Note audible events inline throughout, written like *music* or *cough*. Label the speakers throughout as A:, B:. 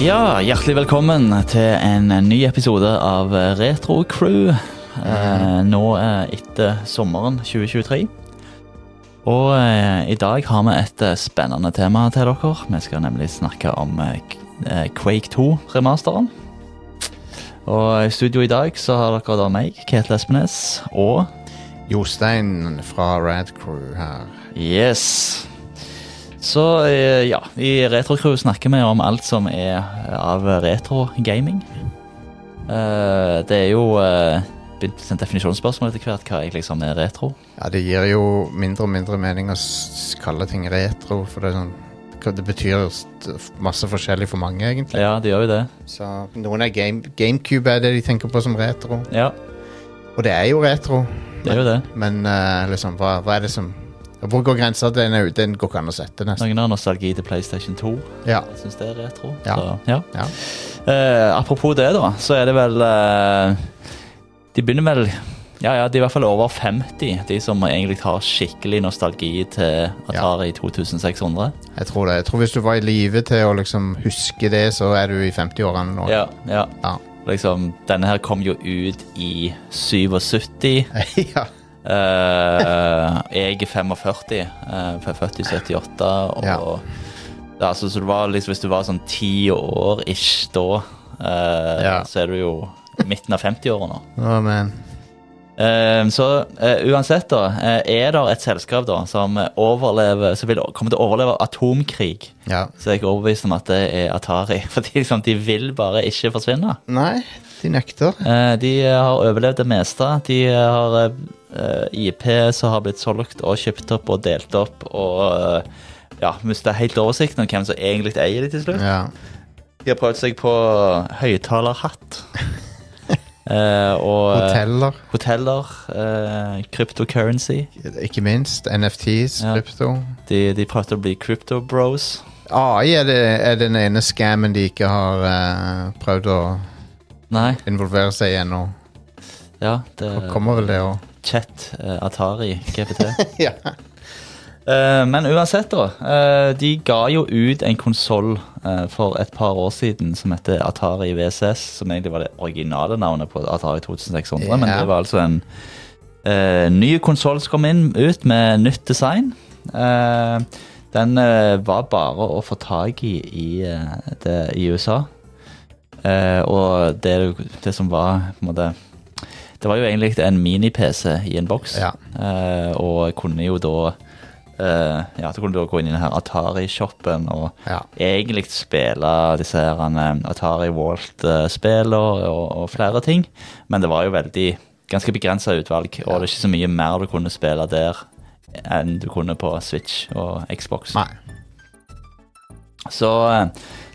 A: Ja, hjertelig velkommen til en ny episode av Retro Crew. Eh, nå eh, etter sommeren 2023. Og eh, i dag har vi et eh, spennende tema til dere. Vi skal nemlig snakke om eh, K- eh, Quake 2-remasteren. Og i studio i dag så har dere da meg, Ketil Espenes, og
B: Jostein fra Rad Crew her.
A: Yes. Så eh, ja, i Retrocrew snakker vi om alt som er av retrogaming. Eh, Det er jo eh, begynt et definisjonsspørsmål etter hvert hva egentlig som er retro.
B: Ja, det gir jo mindre og mindre mening å s- kalle ting retro, for det, er sånn, hva- det betyr st- masse forskjellig for mange, egentlig.
A: Ja, det gjør jo det.
B: Så noen er game, GameCube er det de tenker på som retro,
A: Ja,
B: og det er jo retro,
A: det er jo det.
B: men eh, liksom, hva, hva er det som Hvor går grensa? Den, er, jo- den går ikke an å sette, nesten.
A: Noen har nostalgi til PlayStation 2.
B: Ja.
A: Jeg syns det er retro.
B: Ja.
A: Så, ja.
B: Ja.
A: Eh, apropos det, da, så er det vel eh, De begynner vel Ja, ja, de er i hvert fall over 50, de som egentlig har skikkelig nostalgi til Atari 2600.
B: Jeg tror det. Jeg tror hvis du var i live til å liksom huske det, så er du i 50-årene nå.
A: Ja, ja.
B: Ja.
A: Liksom, denne her kom jo ut i 77.
B: *laughs* ja.
A: Eh, jeg er 45, eh, f- født i 78. Og,
B: Ja.
A: Ja, altså, så det var liksom, hvis du var sånn ti år ish da, eh,
B: Ja.
A: så er du jo i midten av 50-åra nå.
B: Å, men.
A: Eh, så eh, uansett, da, eh, er det et selskap da som overlever, som vil, kommer til å overleve atomkrig,
B: Ja.
A: så er jeg ikke overbevist om at det er Atari. *laughs* Fordi liksom, de vil bare ikke forsvinne.
B: Nei, de nekter.
A: Eh, De eh, har overlevd det meste. De eh, har eh, IP som har blitt solgt og kjøpt opp og delt opp og eh, ja, mista helt oversikten om hvem som egentlig eier de til slutt.
B: Ja.
A: De har prøvd seg på høyttalerhatt. Eh, og eh,
B: Hoteller.
A: hoteller, eh, cryptocurrency.
B: Ikke minst. NFTs,
A: Ja.
B: krypto.
A: De, de prøvde å bli crypto bros.
B: AI er, det, er den ene scammen de ikke har eh, prøvd å
A: Nei,
B: involvere seg i ennå.
A: ja, det
B: Kommer vel det
A: *laughs*
B: òg?
A: Chat, eh, Atari, GPT.
B: ja.
A: Eh, men uansett, da. eh, de ga jo ut en konsoll eh, for et par år siden som heter Atari VCS, som egentlig var det originale navnet på Atari 2600. Men
B: Ja.
A: det var altså en eh, ny konsoll som kom inn, ut med nytt design. Eh, den eh, var bare å få tak i i, eh, det, i USA. Eh, og det, det som var på en måte, Det var jo egentlig en mini-PC i en boks,
B: Ja.
A: eh, og kunne jo da eh, ja, så kunne du da gå inn i den her Atari-shoppen og
B: Ja.
A: egentlig spille disse her eh, Atari Walt-spillene og, og flere ting. Men det var jo veldig ganske begrensa utvalg, og det er ikke så mye mer du kunne spille der enn du kunne på Switch og Xbox. *laughs*
B: Nei.
A: Så eh,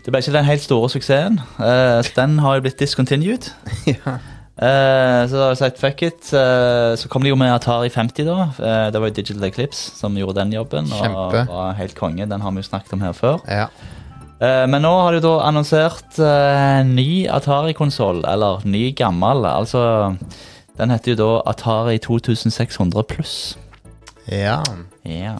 A: det ble ikke den helt store suksessen. Eh, så den har jo blitt discontinued.
B: ja.
A: Eh, så da har jeg sagt fuck it. Eh, så kom de jo med Atari 50, da. Eh, det var jo Digital Eclipse som gjorde den jobben.
B: Kjempe.
A: Og var helt konge. Den har vi jo snakket om her før.
B: ja.
A: Eh, men nå har de da annonsert eh, ny Atari-konsoll. Eller ny gammel. Altså Den heter jo da Atari 2600 pluss.
B: Ja.
A: Ja.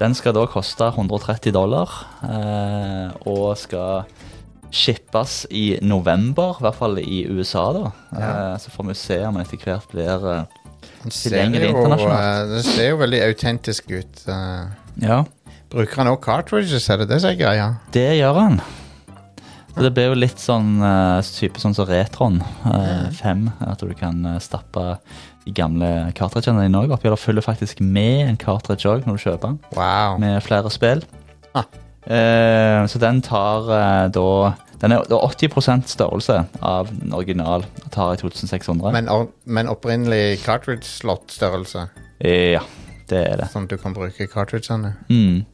A: Den skal da koste 130 dollar, eh, og skal shippes i november, i hvert fall i USA, da. Eh, så får vi se om den etter hvert blir eh,
B: Han ser
A: Tilgjengelig
B: jo,
A: internasjonalt.
B: eh, det ser jo veldig autentisk ut. eh.
A: Ja,
B: bruker han òg cartridges, er det det som er greia?
A: det gjør han. Så det blir jo litt sånn eh, type sånn som Retron eh, 5, at du kan eh, stappe de gamle cartridgene dine òg oppi. Det følger faktisk med en cartridge òg når du kjøper den.
B: Wow.
A: med flere spill.
B: Ah.
A: Eh, så den tar eh, da Den er da 80 størrelse av den original Atari 2600.
B: Men, or- men opprinnelig cartridge-slott-størrelse,
A: Eh, ja, det er det.
B: sånn at du kan bruke cartridgene.
A: Mm.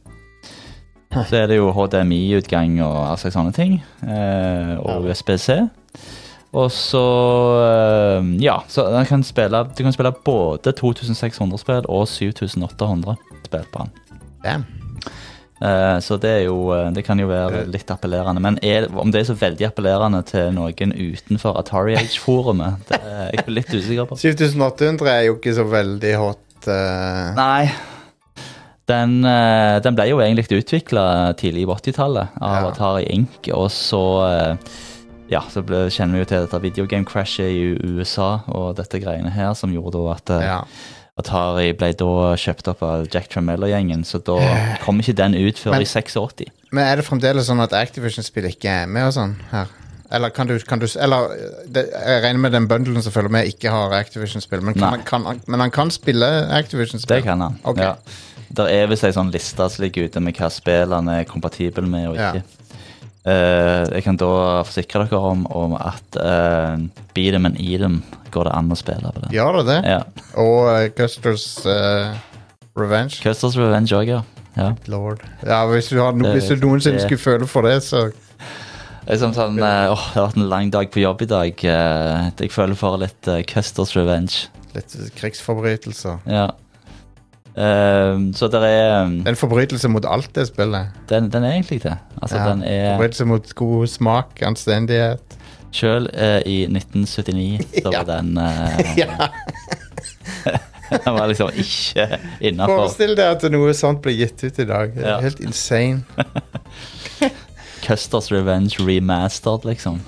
A: Så er det jo HDMI-utgang og all slags sånne ting. Eh, og
B: Ja.
A: USBC. Og så eh, Ja, så den kan spille, du kan spille både 2600-spill og 7800 spill på den.
B: Damn.
A: Eh, Så det, er jo, eh, det kan jo være litt appellerende. Men er, om det er så veldig appellerende til noen utenfor Atari Age-forumet, det er jeg litt usikker på.
B: 7800 er jo ikke så veldig hot. eh.
A: Nei. Den, eh, den ble jo egentlig utvikla tidlig på 80-tallet av
B: Ja.
A: Atari Inc. Og så eh, ja, så ble, kjenner vi jo til dette videogame-crashet i USA og dette greiene her, som gjorde da at eh,
B: Ja.
A: Atari ble da kjøpt opp av Jack Tramella-gjengen. Så da kom ikke den ut før
B: Men-
A: i 86.
B: Men er det fremdeles sånn at Activision-spill ikke er med og sånn her? Eller kan du, kan du s- Eller eh, det, jeg regner med den bundlen som følger med, ikke har Activision-spill, men, kan
A: Nei.
B: han- kan, han- men han kan spille Activision-spill?
A: Det kan han.
B: Ok.
A: Ja. Der er visst ei sånn liste som ligger ute med hva spill han er kompatibel med og
B: Ja.
A: ikke. Eh, jeg kan da forsikre dere om, om at uh, beat them and eat them går det an å spille på det.
B: Gjør det det?
A: Ja.
B: Og eh, Gusters eh, Revenge?
A: Custers Revenge òg, ja. ja.
B: Lord. Ja, hvis du, har, no-
A: Det
B: hvis du
A: vet
B: noensinne
A: jeg.
B: skulle føle for det, så
A: Det er som sånn, eh, åh, det har vært en lang dag på jobb i dag. eh, jeg føler for litt eh, Custers Revenge.
B: Litt krigsforbrytelser.
A: Ja. Eh, så det er
B: Det er en forbrytelse mot alt det spillet.
A: den, den er egentlig det. Altså,
B: Ja.
A: den er
B: Forbrytelse mot god smak, anstendighet.
A: Sjøl eh, i 1979 så var
B: *laughs* Ja.
A: den
B: *laughs*
A: eh, *laughs* Den var liksom ikke innafor.
B: Forestill deg at noe sånt blir gitt ut i dag. Det er
A: Ja.
B: Helt insane.
A: Custers Revenge remastered,
B: *laughs*
A: liksom.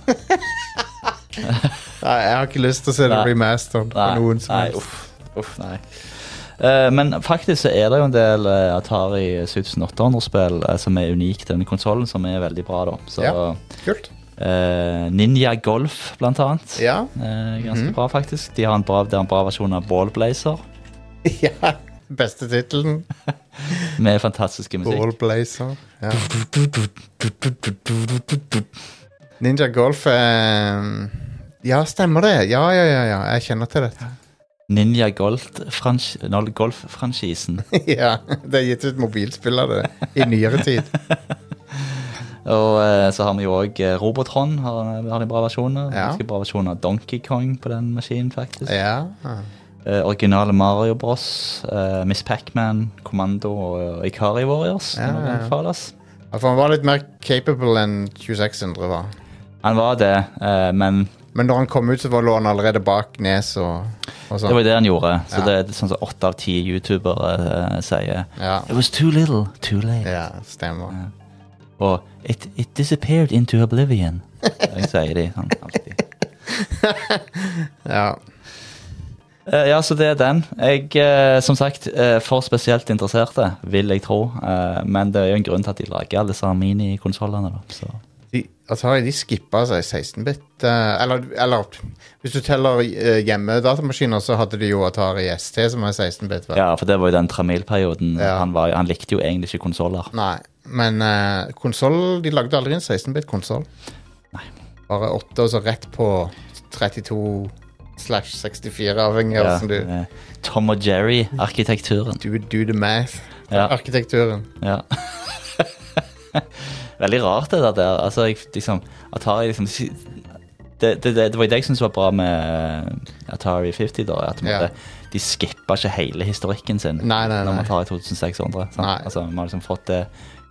B: Nei, jeg har ikke lyst til å se det
A: Nei.
B: remastered på
A: Nei,
B: noen som
A: nei,
B: helst.
A: uff, uff, nei. Eh, men faktisk så er det jo en del eh, Atari 7800-spill eh, som er unikt denne konsollen, som er veldig bra, da. Så
B: Ja. Kult.
A: eh, Ninja Golf, blant annet.
B: Ja. *laughs*
A: Eh, ganske
B: Mhm.
A: bra, faktisk. De har en bra, det er en bra versjon av Ballblazer
B: ja. Beste tittelen.
A: med fantastiske musikk.
B: Ballblazer. Ja. Ninja Golf eh, Ja, stemmer det. Ja, ja, ja. ja. Jeg kjenner til dette. *laughs*
A: Ninja Golf-franchisen. Golf franchisen
B: ja, Det er gitt ut mobilspill av det i nyere
A: *laughs*
B: tid.
A: Og eh, så har vi jo òg Robotron. Har, har de bra versjoner?
B: Ja.
A: Ganske bra versjoner av Donkey Kong på den maskinen, faktisk.
B: Ja.
A: Eh, originale Mario Bros. eh, Miss Pacman, Kommando og Ikari Warriors.
B: Ja,
A: må
B: ja, ja.
A: anbefales.
B: Ja, For han var litt mer capable enn 2600 var.
A: Han var det, eh, men
B: Men når han kom ut, så var lå han allerede bak nes og, og
A: det var
B: sånn.
A: jo det han gjorde. Så
B: Ja.
A: det er sånn som åtte av ti youtubere eh, sier.
B: Ja.
A: It was too little, too late.
B: ja, stemmer.
A: Og it, it disappeared into
B: *laughs*
A: oblivion. Jeg sier de sånn alltid.
B: Ja.
A: Eh, Ja, så det er den. Jeg, eh, som sagt, eh, for spesielt interesserte, vil jeg tro. Eh, men det er jo en grunn til at de lager alle disse minikonsollene. da, Så.
B: De, Atari de skippa seg 16-bit. eh, eller, eller hvis du teller eh, hjemmedatamaskiner, så hadde de jo Atari ST, som er 16-bit. vel?
A: Ja, for det var jo den Tramil-perioden.
B: Ja.
A: Han, var jo- han likte jo egentlig ikke konsoller.
B: Nei, men eh, konsoll De lagde aldri en 16-bit-konsoll.
A: Nei.
B: Bare 8, og så rett på 32 slash 64, avhengig av hvordan du
A: eh, Tom og Jerry-arkitekturen.
B: do, do the math.
A: Ja.
B: Arkitekturen.
A: Ja. *laughs* Veldig rart, det der. der. Altså, jeg, liksom, Atari liksom det, det, det, det var jo det jeg syntes var bra med eh, Atari 50. da, at på en
B: Ja.
A: måte, De skippa ikke hele historikken sin
B: Nei, nei,
A: når
B: nei.
A: man tar i 2600. Sant?
B: Nei.
A: Altså, man har liksom fått det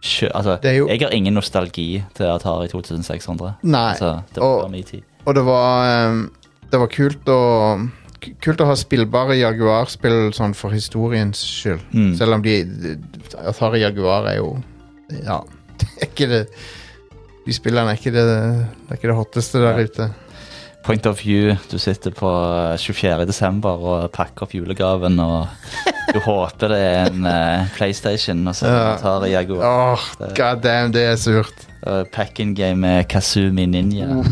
A: sjø... Altså,
B: Det er jo-
A: jeg har ingen nostalgi til Atari 2600.
B: Nei.
A: Altså, det var
B: og-
A: bare min tid.
B: Og det var ehm, Det var kult å k- Kult å ha spillbare Jaguar-spill sånn for historiens skyld.
A: Mm.
B: Selv om de, de Atari Jaguar er jo Ja, *laughs* det er ikke det De spillene er ikke det Det er ikke det hotteste der
A: Ja.
B: ute.
A: Point of view. Du sitter på eh, 24. desember og pakker opp julegaven, og
B: *laughs*
A: du håper det er en eh, PlayStation, og så er det
B: Ja.
A: Atari Jaguar.
B: Åh, god damn, det er surt.
A: Uh, Pack-in game med Kazumi Ninja.
B: Mm.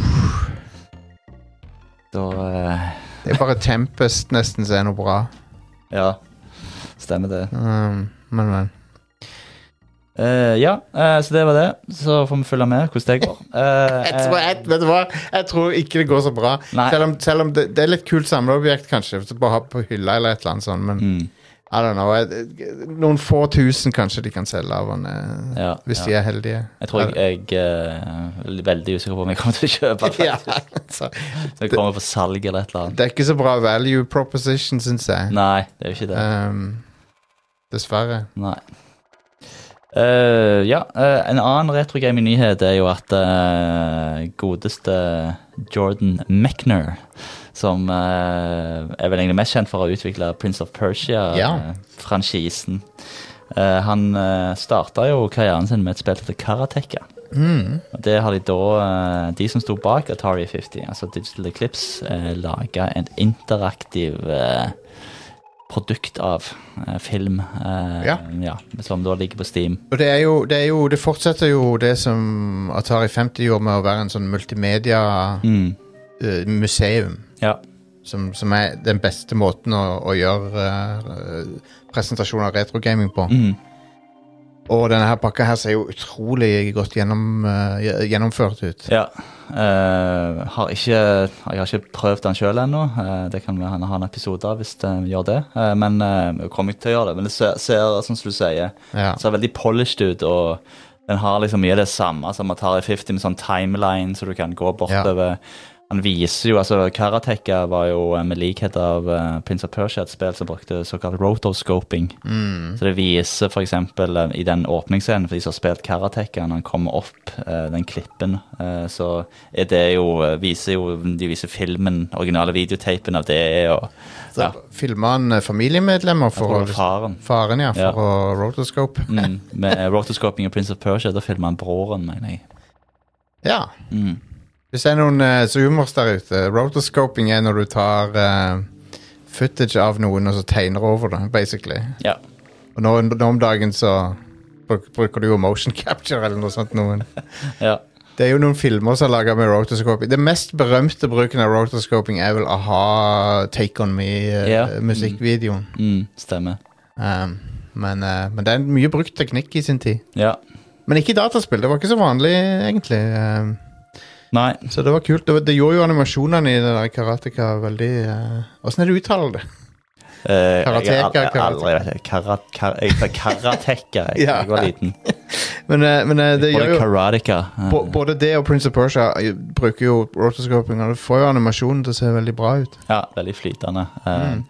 A: Da eh,
B: Det er bare Tempest nesten som er noe bra.
A: Ja, stemmer det.
B: Um, men, men.
A: Eh, ja, eh, så det var det. Så får vi følge med hvordan det
B: *laughs*
A: går. Eh,
B: Jeg tror, jeg, vet du hva? Jeg tror ikke det går så bra.
A: Nei.
B: Selv om, selv om det, det er litt kult samleobjekt, kanskje. så Bare ha på hylla eller et eller annet sånt. Men
A: Mm,
B: I don't know. Jeg, noen få tusen kanskje de kan selge av den, eh,
A: ja,
B: hvis
A: ja.
B: de er heldige.
A: Jeg tror jeg, jeg eh, er veldig usikker på om jeg kommer til å kjøpe
B: *laughs*
A: det.
B: ja, altså,
A: Når jeg kommer på salg eller et eller annet.
B: det er ikke så bra value proposition, syns jeg.
A: Nei, det er jo ikke det.
B: Um, dessverre.
A: Nei. Eh, ja, eh, en annen retrogaming-nyhet er jo at eh, godeste Jordan Mechner, som eh, er vel egentlig mest kjent for å utvikle Prince of
B: Ja.
A: Persia-franchisen, Eh, han eh, starta jo karrieren sin med et spill som heter Karateka. Og det har de da eh, De som sto bak Atari 50, altså Digital Eclipse, eh, laga et interaktiv eh, produkt av eh, film. eh,
B: Ja.
A: som da ligger på Steam.
B: Og det er, jo, det er jo Det fortsetter jo det som Atari 50 gjorde med å være en sånn
A: Mm.
B: multimedia-museum.
A: Ja.
B: som, som er den beste måten å, å gjøre uh, presentasjon av retrogaming på.
A: Mm.
B: Og denne her pakka her ser jo utrolig godt gjennom, eh, gje- gjennomført ut.
A: Ja. Eh, har ikke, jeg har ikke prøvd den sjøl ennå. Eh, det kan vi ha en episode av hvis det gjør det. Eh, men eh, jeg kommer ikke til å gjøre det. Men det ser, ser som du sier,
B: Ja.
A: ser veldig polished ut. og den har liksom mye av det samme som Atari 50 med sånn timeline så du kan gå bortover. Han viser jo, altså Karateka var jo eh, med likhet av eh, Prince of Persia et spill som brukte såkalt rotoscoping.
B: Mm.
A: Så det viser f.eks. i den åpningsscenen for de som har spilt karateka, når han kommer opp eh, den klippen, eh, så er det jo, eh, viser jo De viser filmen, originale videotapen av det og
B: Så
A: ja,
B: Filma han eh, familiemedlemmer
A: jeg tror
B: for
A: det var
B: å
A: faren.
B: Faren, ja. For
A: Ja.
B: å rotoscope.
A: Mm, med rotoscoping av Prince of Persia, da filmer han broren, mener jeg.
B: Ja.
A: Mm.
B: Hvis det er noen eh, zoomers der ute Rotoscoping er når du tar eh, footage av noen og så tegner over det, basically.
A: Ja.
B: Og nå, nå om dagen så bruk, bruker du jo motion *laughs* capture eller noe sånt noen.
A: ja.
B: Det er jo noen filmer som er laga med rotoscoping. Den mest berømte bruken av rotoscoping er vel a-ha Take On
A: Ja.
B: Me-musikkvideoen.
A: Mm, stemmer.
B: Um, men, eh, men det er en mye brukt teknikk i sin tid.
A: Ja.
B: Men ikke i dataspill. Det var ikke så vanlig, egentlig. Um,
A: Nei.
B: så det var kult. Det, var- det gjorde jo animasjonene i den der Karateka veldig Åssen er det du uttaler det?
A: Eh, jeg har
B: Karateka,
A: aldri- aldri vært det. Karat, kar, jeg sa karateka
B: *laughs*
A: da
B: Ja.
A: jeg var liten.
B: Men, eh, men eh, det gjør
A: Både
B: jo
A: karateka. eh,
B: bo- Både det og Prince of Persia eh, bruker jo rotoscoping, og det får jo animasjonen til å se veldig bra ut.
A: Ja, veldig flytende. Eh,
B: Mm.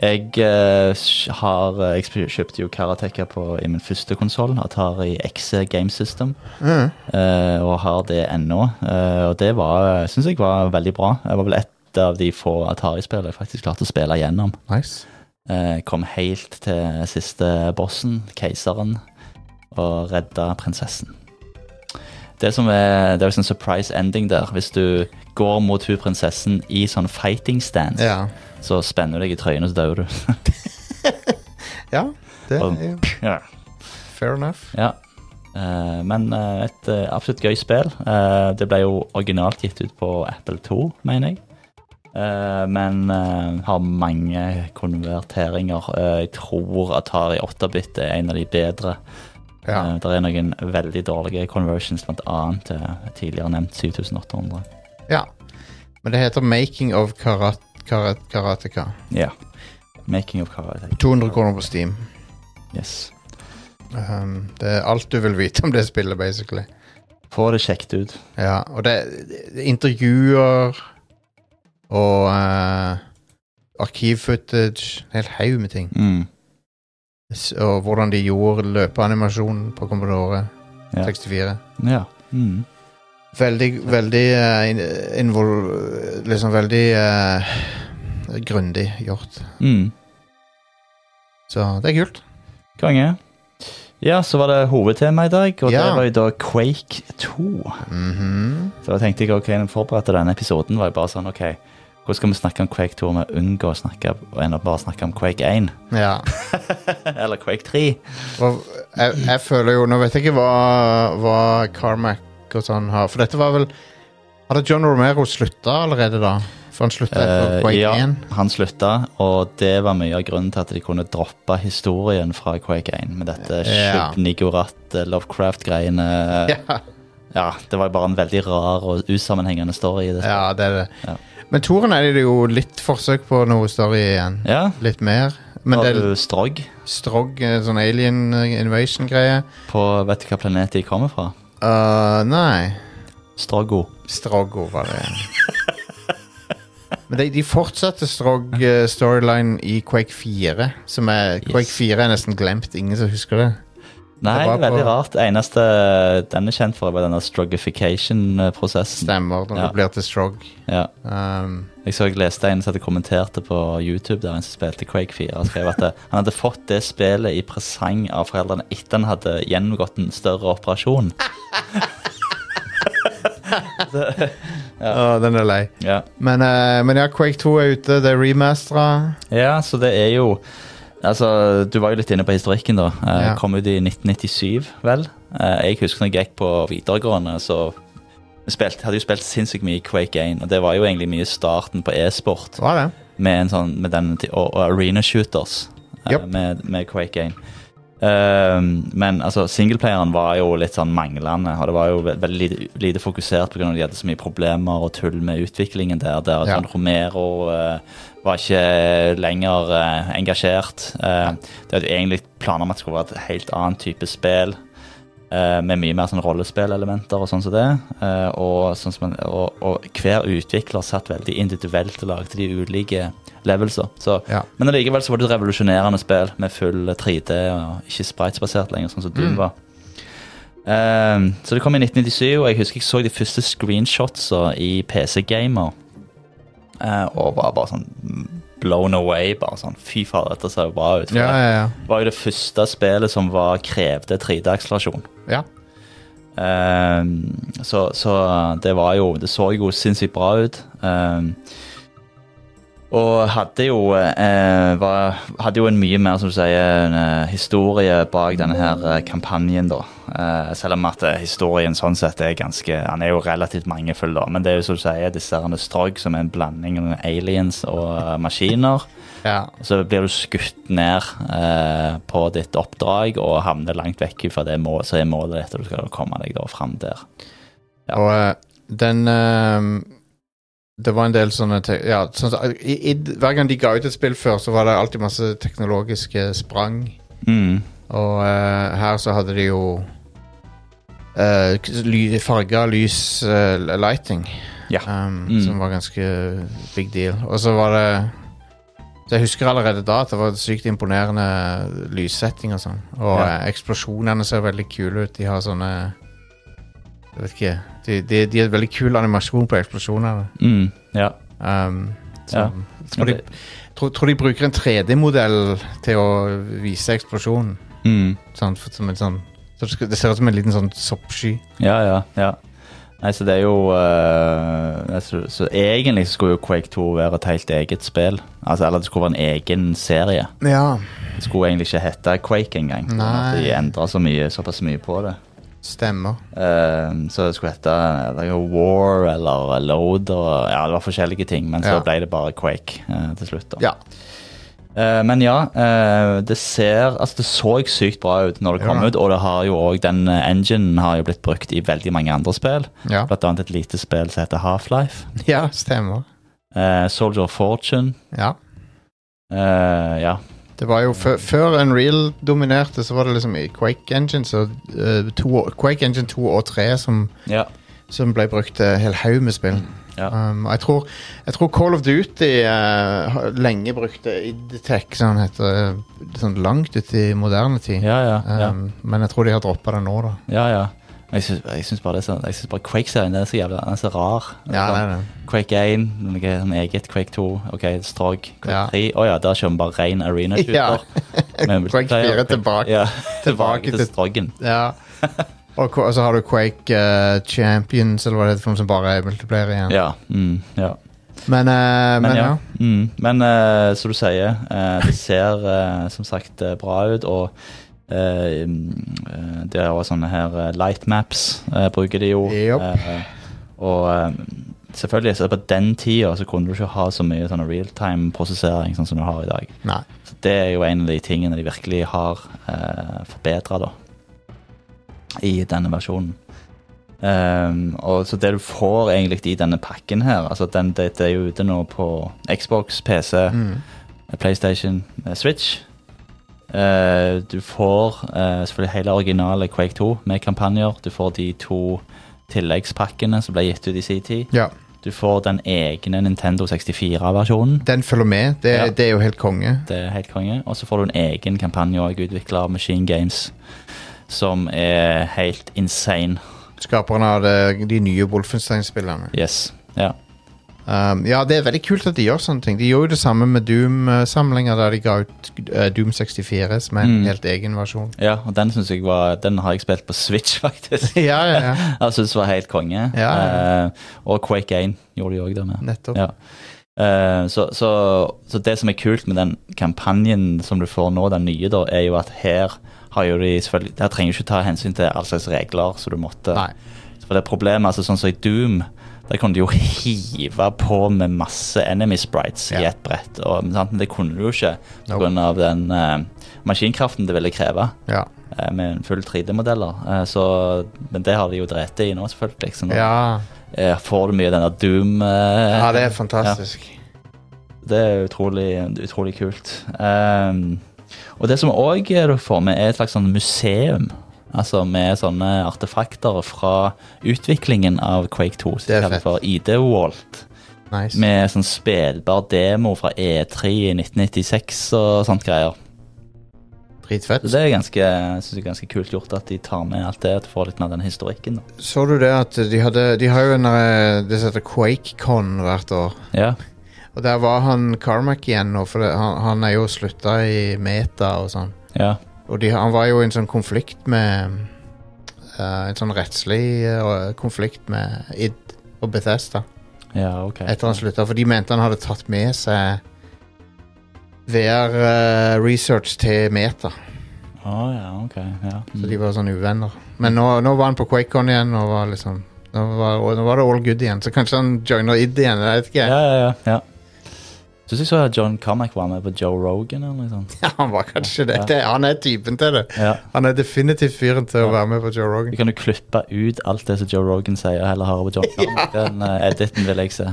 A: Jeg eh, sj- har eh, Jeg sp- kjøpte jo Karateka på, i min første konsoll, Atari XC Game System,
B: Mm.
A: eh, og har det ennå. Eh, Og det var, syns jeg var veldig bra. Det var vel ett av de få Atari-spillene jeg faktisk klarte å spille gjennom.
B: Nice.
A: Eh, Kom helt til siste bossen, keiseren, og redda prinsessen. Det som er, det er jo sånn surprise ending der. Hvis du går mot hun prinsessen i sånn fighting stance,
B: Ja.
A: så spenner du deg i trøyen, og så dør du.
B: ja, det
A: Og-
B: er jo
A: ja.
B: fair enough.
A: Eh, men eh, et eh, absolutt gøy spill. Eh, det ble jo originalt gitt ut på Apple 2, mener jeg. Eh, men eh, har mange konverteringer. Eh, jeg tror Atari 8-bit er en av de bedre.
B: Ja.
A: Eh, det er noen veldig dårlige conversions, bl.a. til tidligere nevnt 7800.
B: Ja. Men det heter Making of karat, karat, Karateka.
A: Ja. Making of Karate.
B: 200 kroner på Steam.
A: Yes.
B: Um, det er alt du vil vite om det spillet, basically.
A: Få det sjekket ut.
B: Ja, og det det er intervjuer og uh, arkivfootage. En hel haug med ting.
A: Mm.
B: S- Og hvordan de gjorde løpeanimasjonen på Commodore
A: Ja.
B: 64.
A: Ja. Mm.
B: Veldig, veldig eh, in, invol... Liksom veldig uh, grundig gjort.
A: Mm.
B: Så det er kult.
A: Konge. Ja, så var det hovedtema i dag, og
B: Ja.
A: det var jo da Quake 2.
B: Mhm.
A: Så da tenkte jeg ok, når jeg forberedte denne episoden, var jeg bare sånn ok, hvordan skal vi snakke om Quake 2 om vi unngår å snakke og ender bare å snakke om Quake 1?
B: Ja.
A: *laughs* Eller Quake 3?
B: Og jeg, jeg føler jo Nå vet jeg ikke hva, hva Carmack og sånn har For dette var vel Hadde John Romero slutta allerede da? For han slutta etter
A: Eh,
B: Quake
A: ja,
B: 1.
A: han slutta, og det var mye av grunnen til at de kunne droppe historien fra Quake 1 med dette
B: Ja.
A: Shubnigorat, Lovecraft-greiene.
B: Ja,
A: Ja, det var jo bare en veldig rar og usammenhengende story i det.
B: ja, det er det.
A: Ja.
B: Men Toren er det jo litt forsøk på noe story igjen.
A: Ja,
B: Litt mer. Men
A: men
B: det
A: har
B: er
A: du Strog
B: strog, eh, sånn alien eh, invasion-greie.
A: på Vet du hva planet de kommer fra?
B: Uh, nei.
A: Strago.
B: Strogo var det. Men de, de fortsatte Strog-storylinen i Quake 4. Som er, Quake
A: Yes.
B: 4 er nesten glemt. Ingen som husker det.
A: Nei,
B: var på-
A: veldig rart. Eneste den er kjent for, var denne strugification-prosessen.
B: Stemmer når
A: Ja.
B: det blir til Strog.
A: Ja.
B: Um,
A: Jeg så jeg leste en som hadde kommenterte på YouTube der en som spilte Quake 4. og skrev at det, han hadde fått det spillet i presang av foreldrene etter han hadde gjennomgått en større operasjon.
B: å, den er lei.
A: Ja,
B: Men, eh, men ja, Quake 2 er ute. Det er remastera.
A: ja så det er jo Altså, Du var jo litt inne på historikken, da. Eh,
B: Ja.
A: Kom ut i 1997, vel. Eh, jeg husker når jeg gikk på videregående, så spilte, hadde jo spilt sinnssykt mye Quake 1. Og det var jo egentlig mye starten på e-sport.
B: Det var det.
A: med, en sånn, med den til- og, og Arena Shooters eh,
B: Japp.
A: med, med Quake 1. Ehm, men altså, singleplayeren var jo litt sånn manglende, og det var jo ve veldig lite, lite fokusert pga. at de hadde så mye problemer og tull med utviklingen der. der
B: Ja.
A: sånn Romero eh, var ikke lenger eh, engasjert. Eh, det hadde jo egentlig planer om at det skulle være et helt annet type spill. eh, med mye mer sånn rollespillelementer og sånn som det. Eh, og, sånn som man, og, og hver utvikler satt veldig individuelt og lagde de ulike levelser. Så,
B: Ja.
A: Men allikevel så var det et revolusjonerende spill med full 3D og ikke spritesbasert lenger, sånn som
B: Mm.
A: Doom var. Ehm, så det kom i 1997, og jeg husker jeg så de første screenshotsa i PC Gamer. eh, og var bare sånn blown away. bare sånn, Fy fader, dette ser jo bra ut. For
B: Ja, ja, ja.
A: Det var jo det første spillet som var krevde 3D-akselerasjon.
B: ja.
A: Ehm, så, så det var jo Det så jo sinnssykt bra ut. Ehm, og hadde jo eh, var, Hadde jo en mye mer som du sier, en, eh, historie bak denne her eh, kampanjen, da. Eh, selv om at eh, historien sånn sett er ganske Han er jo relativt mangefull, da. Men det er jo som du sier, disse herne strog som er en blanding av aliens og eh, maskiner.
B: ja.
A: Så blir du skutt ned eh, på ditt oppdrag og havner langt vekk fra det målet, så er målet ditt, og du skal komme deg da fram der. Ja.
B: Og eh, den eh, Det var en del sånne te ja, sånn, som- i, i, Hver gang de ga ut et spill før, så var det alltid masse teknologiske sprang.
A: Mm.
B: Og eh, her så hadde de jo eh, k- ly farga lys eh, lighting.
A: Ja.
B: Um,
A: Mm.
B: Som var ganske big deal. Og så var det så Jeg husker allerede da at det var sykt imponerende lyssetting og sånn. Og
A: Ja.
B: eh, eksplosjonene ser veldig kule ut. De har sånne Jeg vet ikke De, de, de har veldig kul animasjon på eksplosjonene.
A: Mm. Ja.
B: Um,
A: Ja.
B: som, tror, de, tror, tror de bruker en 3D-modell til å vise eksplosjonen.
A: Mm.
B: Sånn, for- som en sånn så det skal- Det ser ut som en liten sånn soppsky.
A: Ja, ja, ja. Nei, så det er jo eh, altså, Så egentlig så skulle jo Quake 2 være et helt eget spill. Altså, eller det skulle være en egen serie.
B: Ja.
A: Det skulle egentlig ikke hete Quake engang.
B: Nei.
A: De endra så mye, såpass mye på det.
B: Stemmer.
A: Eh, så det skulle hete eh, det er jo War eller Load og Ja, det var forskjellige ting, men så
B: Ja.
A: ble det bare Quake eh, til slutt. da.
B: Ja.
A: Eh, men ja, eh, det ser Altså, det så sykt bra ut når det kom
B: Ja.
A: ut, og det har jo også, den eh, enginen har jo blitt brukt i veldig mange andre spill.
B: Ja,
A: *laughs* Blant annet et lite spill som heter Half-Life.
B: ja stemmer.
A: Eh, Soldier of Fortune.
B: Ja.
A: eh, ja.
B: Det var jo før- Før Unreal dominerte, så var det liksom i Quake Engine så, eh, to, og- Quake Engine 2 og 3 som,
A: ja.
B: som ble brukt til en hel haug med spill.
A: Ja.
B: Um, jeg, tror, jeg tror Call of Duty eh, har lenge brukte Idtech, som det heter, eh, sånn langt ut i moderne tid.
A: Ja, ja, ja.
B: Um, Men jeg tror de har droppa det nå, da.
A: ja, ja. Jeg syns jeg syns bare, det er så- jeg syns bare Quake-serien den er så jævlig den er så rar.
B: det er det.
A: Quake 1, noe sånn eget Quake 2, ok, Strog, Quake
B: Ja.
A: 3 Å ja, der kjører vi bare ren arena shooter. *laughs* med
B: Quake
A: multiplayer.
B: 4 tilbake-
A: Ja,
B: *laughs* tilbake
A: tilbake til
B: til-
A: Strogen.
B: Ja. Og, ko- og så har du Quake eh, Champions, eller hva det heter, for noe som bare er multiplayer igjen.
A: Ja. Mm, ja.
B: Men, eh, men, ja.
A: Mm, men eh, som du sier, eh, det ser eh, som sagt eh, bra ut, og eh, mm, eh, det er også sånne her eh, light maps, eh, bruker de jo.
B: Yep.
A: Eh, og eh, selvfølgelig, så på den tida så kunne du ikke ha så mye sånn realtime-prosessering sånn som du har i dag.
B: Nei.
A: Så det er jo en av de tingene de virkelig har eh, forbedra, da. I denne versjonen. Ehm, og så det du får egentlig i denne pakken her altså den, det, det er jo ute nå på Xbox, PC,
B: Mm.
A: PlayStation, eh, Switch. Eh, du får eh, selvfølgelig hele originale Quake 2 med kampanjer. Du får de to tilleggspakkene som ble gitt ut i sin tid.
B: Ja.
A: Du får den egne Nintendo 64-versjonen.
B: Den følger med. Det,
A: Ja.
B: det er jo helt konge.
A: Det er helt konge. Og så får du en egen kampanje òg, utvikla av Machine Games. som er helt insane.
B: Skaperen av det, de nye Wolfenstein-spillene.
A: Yes. Ja.
B: Um, ja, det er veldig kult at de gjør sånne ting. De gjorde jo det samme med Doom-samlinger, der de ga ut eh, Doom 64, som er en
A: Mm.
B: helt egen versjon. *laughs*
A: ja, og den synes jeg var Den har jeg spilt på Switch, *laughs* faktisk.
B: ja, ja, ja.
A: Jeg syns var helt konge.
B: Ja, ja.
A: Eh, og Quake 1 gjorde de òg det med.
B: Nettopp.
A: Ja. Eh, så, så, så det som er kult med den kampanjen som du får nå, den nye, da, er jo at her har jo de selvfølgelig Der trenger du ikke ta hensyn til all slags regler som du måtte.
B: Nei.
A: For det problemet, altså sånn som i Doom, der kunne du jo hive på med masse enemy sprites i
B: Ja.
A: ett brett. Og, sant? Men det kunne du jo ikke
B: Nope.
A: pga. av den eh, maskinkraften det ville kreve
B: Ja.
A: eh, med en full 3D-modeller. Eh, så- men det har de jo drept i nå, selvfølgelig. Så nå
B: ja.
A: eh, får du mye av den der Doom eh,
B: Ja, det er fantastisk.
A: det er utrolig, utrolig kult. Ehm, og det som òg du får med, er et slags sånn museum. Altså med sånne artefakter fra utviklingen av Quake 2. Som
B: Det er
A: de kaller
B: fett.
A: for ID-Walt.
B: Nice.
A: Med sånn spillbar demo fra E3 i 1996 og sånt greier.
B: Dritfett.
A: Så det er ganske, jeg synes det er ganske kult gjort at de tar med alt det. At du får litt mer den historikken. Da.
B: Så du det at de hadde De har jo en eh, det som heter QuakeCon hvert år.
A: Ja.
B: Og der var han Carmack igjen nå, for det, han, han er jo slutta i Meta og sånn.
A: ja.
B: Og de, han var jo i en sånn konflikt med eh, En sånn rettslig eh, konflikt med ID og Bethesda
A: Ja, ok.
B: etter han slutta, for de mente han hadde tatt med seg VR-research til Meta.
A: Å ja, ok. Ja.
B: Så de var sånn uvenner. Men nå, nå var han på QuakeCon igjen, og var liksom nå var, og nå var det all good igjen, så kanskje han joiner id igjen. Jeg vet ikke.
A: Ja, ja, ja. ja. Syns jeg så at John Carmack var med på Joe Rogan eller noe sånt.
B: Ja, *laughs* han var kanskje det.
A: Ja.
B: det. *laughs* Han er typen til det.
A: Ja.
B: Han er definitivt fyren til å
A: Ja.
B: være med på Joe
A: Du
B: Rogan.
A: kan jo klippe ut alt det som Joe Rogan sier, og heller høre på
B: *laughs*
A: John Carmack. Den eh, editen vil jeg se.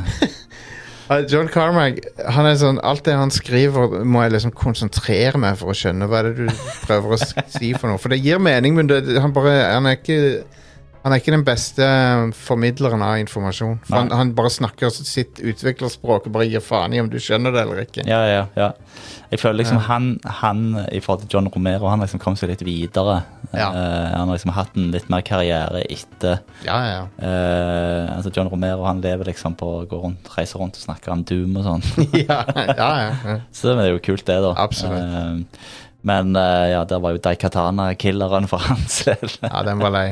B: Uh, John Carmack, han er sånn Alt det han skriver, må jeg liksom konsentrere meg for å skjønne. Hva er det du prøver å s- *laughs* si for noe? For det gir mening, men det, han, bare, han, er ikke, han er ikke den beste formidleren av informasjon. For han,
A: Nei.
B: han bare snakker sitt utviklerspråk og bare gir faen i om du skjønner det eller ikke.
A: Ja, ja, ja. Jeg føler liksom
B: Ja.
A: han, han i forhold til John Romero, han liksom kom seg litt videre.
B: Ja.
A: Eh, han har liksom hatt en litt mer karriere etter
B: Ja, ja,
A: eh, Altså John Romero han lever liksom på å gå rundt, reise rundt og snakke om Doom og sånn.
B: *laughs* ja. ja, ja.
A: *laughs* Så det er jo kult, det, da.
B: Absolutt.
A: Eh, men eh, ja, der var jo Daikatana-killeren for *laughs* hans del.
B: ja den var lei.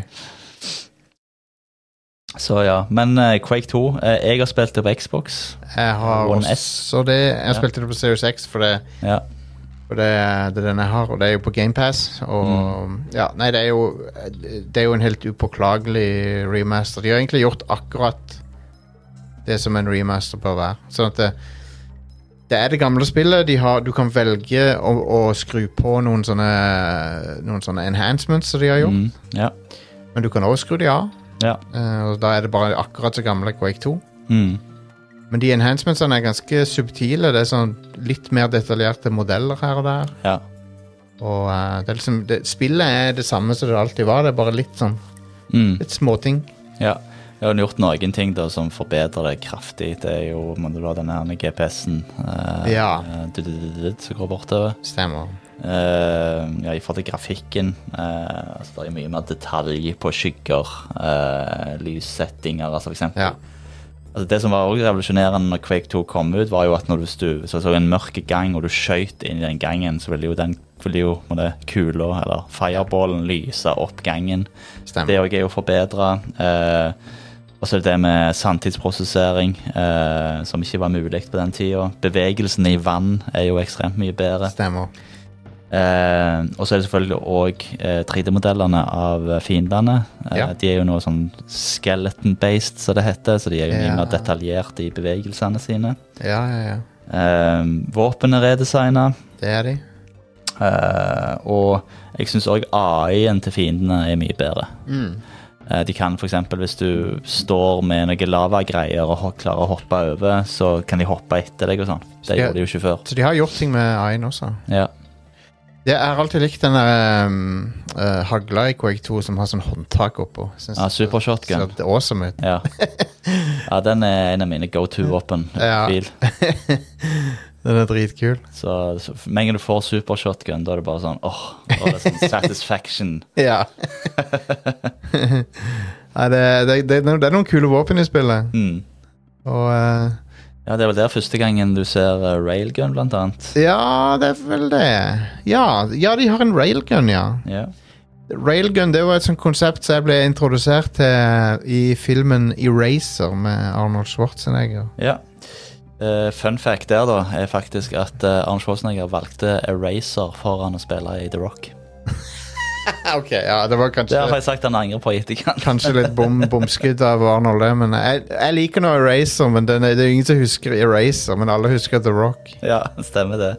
A: Så ja. Men eh, Quake 2 eh, Jeg har spilt det på Xbox.
B: Jeg har
A: One S.
B: også det. Jeg
A: Ja.
B: spilte det på Series X, for det
A: Ja.
B: For det, er- det er den jeg har, og det er jo på GamePass. Og
A: Mm.
B: ja, nei, det er, jo, det er jo en helt upåklagelig remaster. De har egentlig gjort akkurat det som en remaster bør være. Sånn at det, det er det gamle spillet. De har, du kan velge å, å skru på noen sånne, noen sånne enhancements som de har gjort,
A: Mm, ja.
B: men du kan også skru de av.
A: Ja.
B: Eh, og da er det bare akkurat så gamle Quake 2.
A: Mm.
B: Men de enhancementsene er ganske subtile. Det er sånn litt mer detaljerte modeller her og der.
A: ja.
B: Og eh, det er liksom, det, Spillet er det samme som det alltid var, det er bare litt sånn
A: Mm.
B: Litt småting.
A: ja. Jeg har gjort noen ting da som forbedrer det kraftig. Det er jo må du ha den her GPS-en eh,
B: Ja.
A: eh, du- du- du- du- som går bortover.
B: Stemmer.
A: Eh, ja, I forhold til grafikken eh, altså Det er mye mer detalj på skygger, eh, lyssettinger, altså, for eksempel.
B: Ja.
A: Altså det som var også revolusjonerende når Quake 2 kom ut, var jo at når du stu, så, så en mørk gang og du skøyt inn i den gangen, så ville jo den ville jo, må det, kula, eller fireballen, lyse opp gangen. Det
B: Stemmer.
A: òg er jo forbedra. Eh, og så er det det med sanntidsprosessering, eh, som ikke var mulig på den tida. Bevegelsen i vann er jo ekstremt mye bedre.
B: Stemmer.
A: Eh, og så er det selvfølgelig òg eh, 3D-modellene av eh, fiendene. Eh,
B: Ja.
A: De er jo noe sånn skeleton-based, som det heter, så de er jo mye
B: Ja.
A: mer detaljerte i bevegelsene sine.
B: Ja, ja, ja.
A: Eh, Våpen er redesigna,
B: Det er de.
A: eh, og jeg syns òg AI-en til fiendene er mye bedre.
B: Mm.
A: Eh, de kan f.eks. hvis du står med noen lavagreier og ho- klarer å hoppe over, så kan de hoppe etter deg og sånn. Det
B: Skal jeg-
A: gjorde de jo ikke før.
B: Så de har gjort ting med Ayn også.
A: Ja.
B: Det er alltid likt den der um, eh, hagla i Quake 2 som har sånn håndtak oppå. Synes
A: Ja,
B: det ser-
A: supershotgun.
B: ser det awesome ut. *laughs*
A: Ja. ja, den er en av mine go to-våpen.
B: Ja.
A: Bil.
B: *laughs* Den er dritkul.
A: Så så f- med en gang du får supershotgun, da er det bare sånn åh, og det er sånn satisfaction.
B: Ja. *laughs* Nei, det, det, det, er no- det er noen kule våpen i spillet.
A: Mm.
B: Og eh,
A: Ja, det er vel der første gangen du ser eh, railgun, blant annet.
B: Ja, det er vel det. Ja, ja de har en railgun, ja.
A: Ja.
B: Railgun det var et sånt konsept som jeg ble introdusert til eh, i filmen Eraser med Arnold Schwarzenegger.
A: ja. Eh, fun fact der, da, er faktisk at uh, Arne Schwarzenegger valgte Eraser foran å spille i The Rock.
B: ok, ja, det var
A: Det har
B: kanskje,
A: jeg sagt han angrer på i
B: *laughs*
A: etterkant.
B: kanskje litt bom, bomskudd av Arnold, det. Men jeg, jeg liker nå Eraser, men den, er- det er jo ingen som husker Eraser, men alle husker The Rock.
A: *laughs* Ja, stemmer det.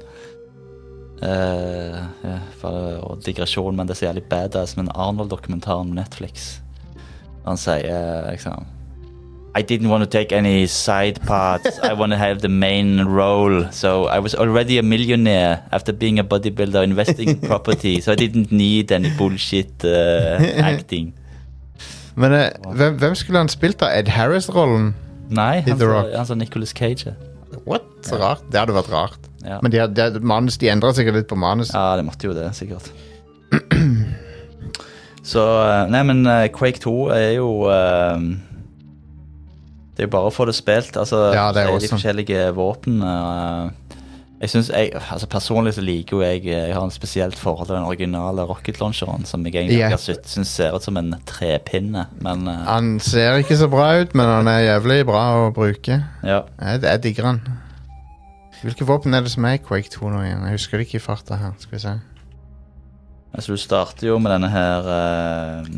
A: Eh, ja, bare og digresjon, men det er så jævlig badass med en Arnold-dokumentar om Netflix. Han sier eh, liksom I didn't want to take any side parts. I want to have the main role. So I was already a millionaire after being a bodybuilder investing
B: *laughs*
A: in property. So I didn't need any bullshit eh,
B: *laughs*
A: acting.
B: Men eh, hvem, hvem skulle han spilt da? Ed Harris-rollen?
A: Nei, han
B: The
A: sa-
B: Rock.
A: han sa Nicholas Cage. ja.
B: What? Så rart. Det hadde vært rart.
A: Ja.
B: Men de, har- de, har- manus, de endra sikkert litt på manuset.
A: Ja, det måtte jo det, sikkert. *clears throat* Så eh, Nei, men eh, Quake 2 er jo eh, Det er jo bare å få det spilt. Altså,
B: Ja, det er
A: de
B: awesome.
A: forskjellige våpen. eh, jeg synes jeg, altså Personlig så liker jo jeg Jeg har en spesielt forhold til den originale rocket launcheren, som jeg egentlig
B: Ja.
A: yeah. syns ser ut som en trepinne, men eh,
B: Han ser ikke så bra ut, men han er jævlig bra å bruke.
A: ja.
B: Jeg, jeg digger han. Hvilke våpen er det som er i Quake 2 nå igjen? Jeg husker det ikke i farta her. skal vi se.
A: Altså, du starter jo med denne her eh,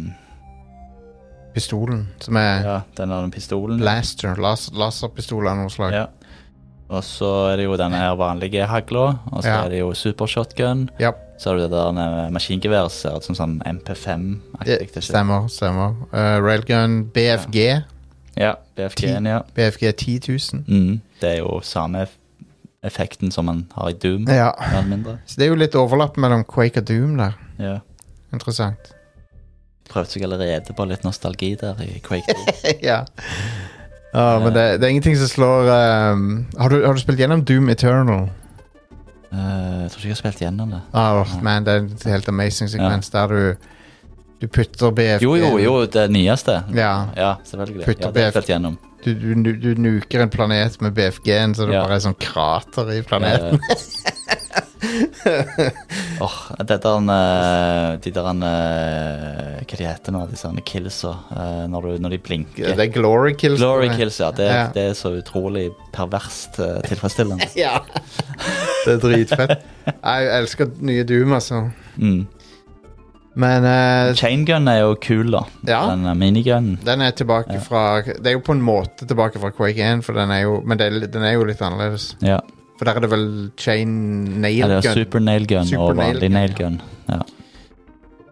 B: Pistolen, som er
A: Ja, denne pistolen.
B: blaster. Las, laserpistol av noe slag. Ja.
A: Ja. Og så er det jo denne her vanlige hagla, og så
B: Ja.
A: er det jo supershotgun.
B: Ja.
A: Så har du det der med maskingeværet som ser ut som sånn MP5-aktig. ikke sant?
B: Stemmer, stemmer. Eh, railgun BFG.
A: Ja, BFG-en, ja.
B: BFG 10 000.
A: Mm, det er jo samme eff- effekten som man har i Doom,
B: Ja.
A: mer eller mindre.
B: Så det er jo litt overlapp mellom Quake og Doom der.
A: Ja.
B: Interessant. *laughs*
A: Prøvde seg allerede på litt nostalgi der i Quake
B: *laughs*
A: 2.
B: ja. Ja, men det, det er ingenting som slår eh, har, du, har du spilt gjennom Doom Eternal? Ah,
A: Eh, jeg tror ikke jeg har spilt gjennom det.
B: Åh, man, det er en helt amazing sekvens der du Du putter BFG
A: Jo, jo, jo, det nyeste.
B: Ja.
A: Ja, selvfølgelig.
B: Putt
A: Ja,
B: opp
A: det har jeg
B: BFG.
A: spilt gjennom.
B: Du, du, nu- du nuker en planet med BFG-en, så det
A: Ja.
B: bare er sånn krater i planeten.
A: Eh, *laughs* Åh, det der eh, De der eh, Hva de heter nå, disse her killsa eh, når, du- når de blinker.
B: Det er glory kills.
A: Glory
B: tror jeg.
A: kills, ja. Det,
B: Ja.
A: det er så utrolig perverst eh, tilfredsstillende.
B: Ja. *laughs* det er dritfett. Jeg elsker nye Doom, altså.
A: Mm.
B: Men eh, Ah.
A: Chaingun er jo kul, da.
B: Ja.
A: Den eh, minigunnen.
B: den er tilbake fra Det er jo på en måte tilbake fra Quake 1, for den er jo, men det, er li- den er jo litt annerledes.
A: Ja.
B: For der er det vel chain nail
A: Eller
B: gun.
A: super nail gun
B: Super
A: og
B: nail
A: vanlig
B: gun,
A: nail gun. Ja.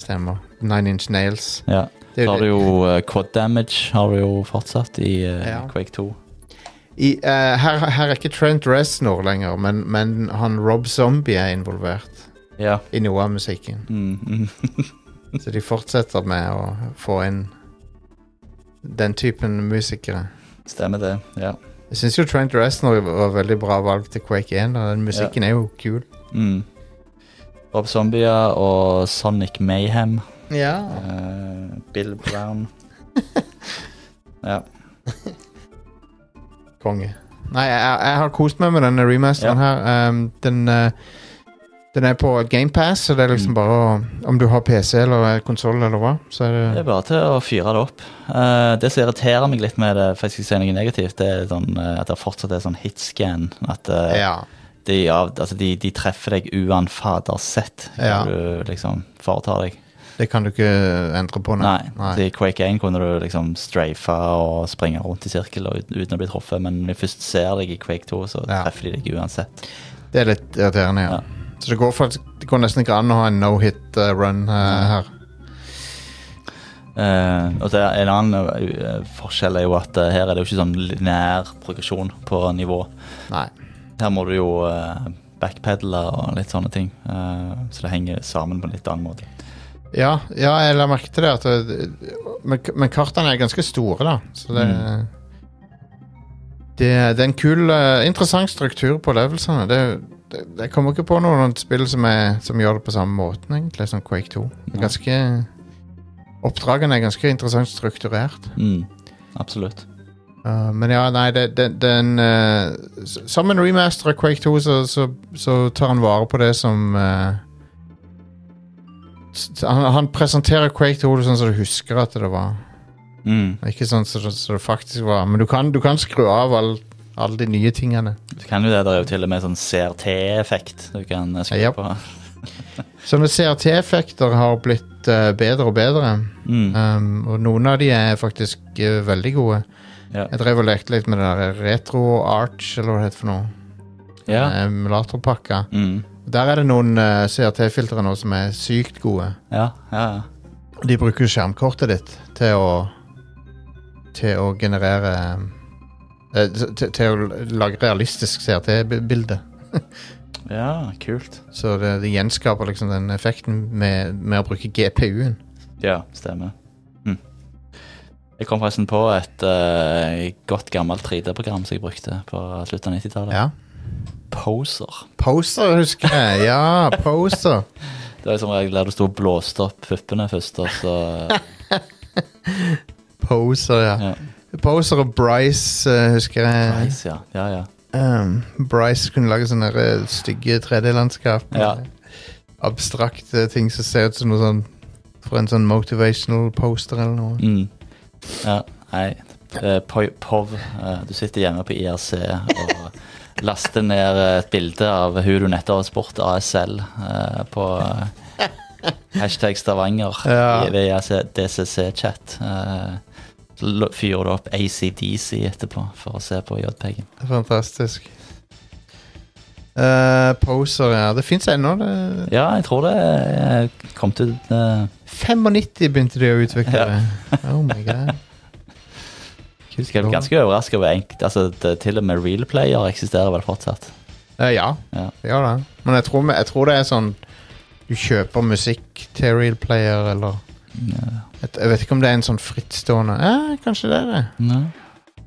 B: Stemmer. Nine inch nails.
A: Ja.
B: Det
A: Så
B: er jo
A: har du jo eh, quad damage har du jo fortsatt i eh,
B: Ja.
A: Quake 2.
B: I, eh, her, her er ikke Trent Reznor lenger, men, men han Rob Zombie er involvert
A: Ja.
B: i noe av
A: *laughs*
B: musikken.
A: Mm, mm.
B: Så de fortsetter med å få inn den typen musikere.
A: Stemmer det. Ja.
B: Jeg syns jo Trent Reznor var veldig bra valg til Quake 1. Og den musikken er jo kul.
A: Mm. Rob Zombia og Sonic Mayhem.
B: Ja.
A: Eh, Bill Brown. ja.
B: Konge. Nei, jeg, jeg har kost meg med denne remasteren her. Um, den, eh, den er på GamePass, så det er liksom
A: Mm.
B: bare å Om du har PC eller konsoll eller hva, så er
A: Det
B: det
A: er bare til å fyre det opp. Eh, det som irriterer meg litt med det, for jeg skal si noe negativt, det er sånn, eh, at det fortsatt er sånn hitscan. At eh,
B: Ja.
A: de, av, altså de, de treffer deg uanfadersett når
B: Ja.
A: du liksom foretar deg.
B: Det kan du ikke eh, endre på,
A: Nei. I Quake 1 kunne du liksom strafe og springe rundt i sirkel og, ut- uten å bli truffet, men når de først ser deg i Quake 2, så
B: Ja.
A: treffer de deg uansett.
B: Det er litt irriterende, ja.
A: Ja.
B: Så det går, faktisk, det går nesten ikke an å ha en no hit eh, run eh, her.
A: Eh, og det er En annen eh, forskjell er jo at eh, her er det jo ikke sånn lineær progresjon på nivå.
B: Nei.
A: Her må du jo eh, backpedale og litt sånne ting. eh, så det henger sammen på en litt annen måte.
B: Ja, ja jeg la merke til det. At det men, men kartene er ganske store, da. Så det det, det er en kul, eh, interessant struktur på levelsene. Det, det, jeg kommer ikke på noe- noen spill som, er, som gjør det på samme måten, egentlig, som Quake 2. Det er
A: Nei.
B: Ganske, oppdragene er ganske interessant strukturert.
A: Mm, absolutt.
B: Uh, men ja, nei, det, det, den eh, s- Som en remaster av Quake 2, så, så, så tar han vare på det som eh, s- han, han presenterer Quake 2 sånn som du husker at det var.
A: Mm.
B: Ikke sånn som det- som det faktisk var. Men du kan, du kan skru av all, alle de nye tingene.
A: Du kan jo det, det er jo til og med sånn CRT-effekt du kan eh, skru
B: Japp.
A: på.
B: Sånne CRT-effekter har blitt eh, bedre og bedre.
A: Mm.
B: Um, og noen av de er faktisk eh, veldig gode.
A: Ja.
B: Jeg drev og lekte litt med det der retro arch, eller hva det heter for noe. Eh,
A: ja.
B: Emulatorpakka.
A: Mm.
B: Der er det noen eh, CRT-filtre nå som er sykt gode.
A: Ja, ja, ja.
B: De bruker skjermkortet ditt til å Til å generere eh, til, til å lage realistisk CRT-bilde.
A: ja kult.
B: Så det, det gjenskaper liksom den effekten med, med å bruke GPU-en.
A: Ja, stemmer. Mm. Jeg kom forresten på et eh, godt gammelt 3D-program som jeg brukte på slutten av 90-tallet.
B: Ja.
A: Poser.
B: Poser, husker jeg. Ja, *laughs* poser.
A: Det var jo som regel der du sto og blåste opp puppene først, og så
B: Poser, ja.
A: ja.
B: Poser og Bryce, eh, husker jeg. Bryce,
A: Nice, ja. Ja, ja.
B: Ehm, Bryce kunne lage sånne eh, stygge 3D-landskap. med
A: Ja.
B: Abstrakte ting som ser ut som noe sånn For en sånn motivational poster eller noe.
A: Mm. ja nei. Eh, po- POV. eh, du sitter hjemme på IRC og *laughs* laster ned eh, et bilde av hun du nettopp har spurt, ASL, eh, på eh, hashtag Stavanger
B: Ja.
A: i- ved IRC DCC-chat. Eh, så lo- fyrer du opp ACDC etterpå for å se på JPEG-en.
B: Fantastisk. Eh, poser, ja. Det fins ennå. det-
A: Ja, jeg tror det eh, kom til eh,
B: 95 begynte de å utvikle
A: Ja.
B: det. Oh my
A: *laughs*
B: god. Kult
A: Jeg er
B: lov.
A: ganske overraska over enkelt. Altså, det, til og med realplayer eksisterer vel fortsatt.
B: Eh, ja.
A: Ja.
B: ja da. Men jeg tror, jeg tror det er sånn Du kjøper musikk til real player eller Jeg, jeg vet ikke om det er en sånn frittstående eh, Kanskje det er det.
A: Nei.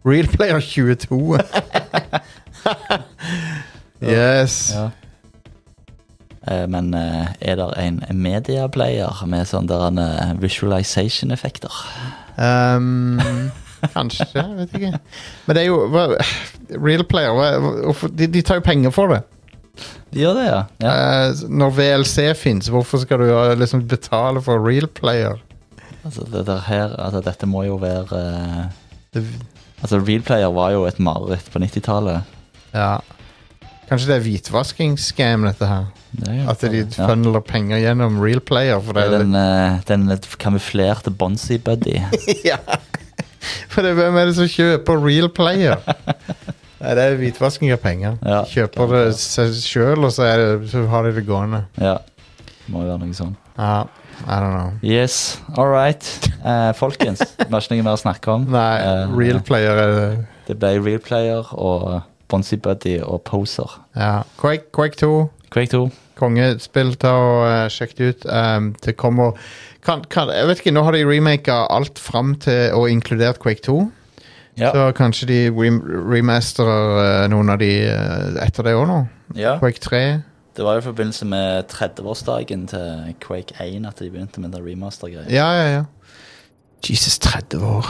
B: Real
A: *laughs*
B: Player 22. yes.
A: Ja. Eh, Men eh, er det en mediaplayer med sånn der en eh, visualization-effekter?
B: Um, kanskje. Jeg vet ikke. Men det er jo hva, Real Player hva, hvorfor, de, de tar jo penger for det.
A: De gjør det, ja. ja.
B: Eh, når VLC fins, hvorfor skal du eh, liksom betale for Real Player?
A: Altså, det der her, altså, dette må jo være eh,
B: Det,
A: Altså, Realplayer var jo et mareritt på 90-tallet.
B: ja. Kanskje det er hvitvaskingsscam, dette her?
A: Det er jo-
B: At de
A: ja.
B: funneler penger gjennom Real Player? For
A: Det
B: det,
A: er den, eh, den kamuflerte Bonsi
B: *laughs*
A: Buddy.
B: Ja. For det, hvem er det som kjøper real
A: *laughs*
B: player? Nei, det er hvitvasking av penger.
A: Ja,
B: De kjøper det seg sjøl, og så, er det, så har de det gående.
A: ja. Det må jo være noe sånn.
B: Ja, I don't know.
A: Yes, all right. Eh, folkens, det var ikke noe mer å snakke om.
B: *laughs* Nei,
A: Eh,
B: real player er det.
A: Det ble Realplayer og Bonsi Buddy og Poser.
B: Ja. Quake, Quake 2,
A: Quake 2.
B: kongespill, ta og eh, sjekk det ut. Um, det kommer kan, kan, Jeg vet ikke, nå har de remaka alt fram til og inkludert Quake 2.
A: Ja.
B: Så kanskje de rem remasterer eh, noen av de eh, etter det òg nå.
A: ja.
B: Quake 3.
A: Det var jo i forbindelse med 30-årsdagen til Quake 1 at de begynte med den remaster-greia.
B: Ja, ja, ja. Jesus, 30 år.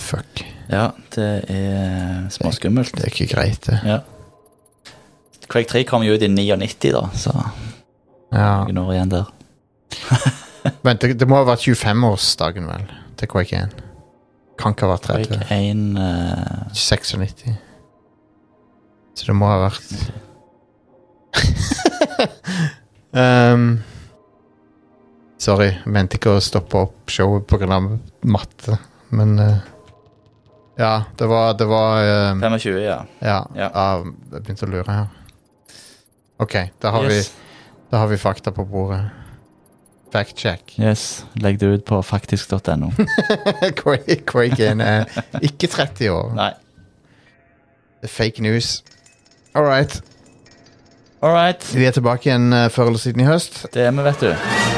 B: Fuck.
A: Ja, det er småskummelt.
B: Det er ikke greit, det.
A: Ja. Quake 3 kom jo ut i 99, da, så
B: Ja.
A: noen år igjen der.
B: Vent, det, det må ha vært 25-årsdagen, vel, til Quake 1. Kan ikke ha vært 30.
A: Quake 1 eh,
B: 96. Så det må ha vært *laughs* um, Sorry, jeg mente ikke å stoppe opp showet pga. matte, men eh, Ja, det var, det var eh,
A: 25, ja.
B: Ja,
A: Ja.
B: ah, jeg begynte å lure her. OK, da har,
A: yes.
B: vi, da har vi fakta på bordet. Fact check.
A: yes. Legg det ut på faktisk.no.
B: *laughs* Quake Quake 1 er eh, ikke 30 år.
A: Nei.
B: Det er fake news. All right.
A: All right.
B: Vi er tilbake igjen eh, før eller siden i høst.
A: Det er vi, vet du.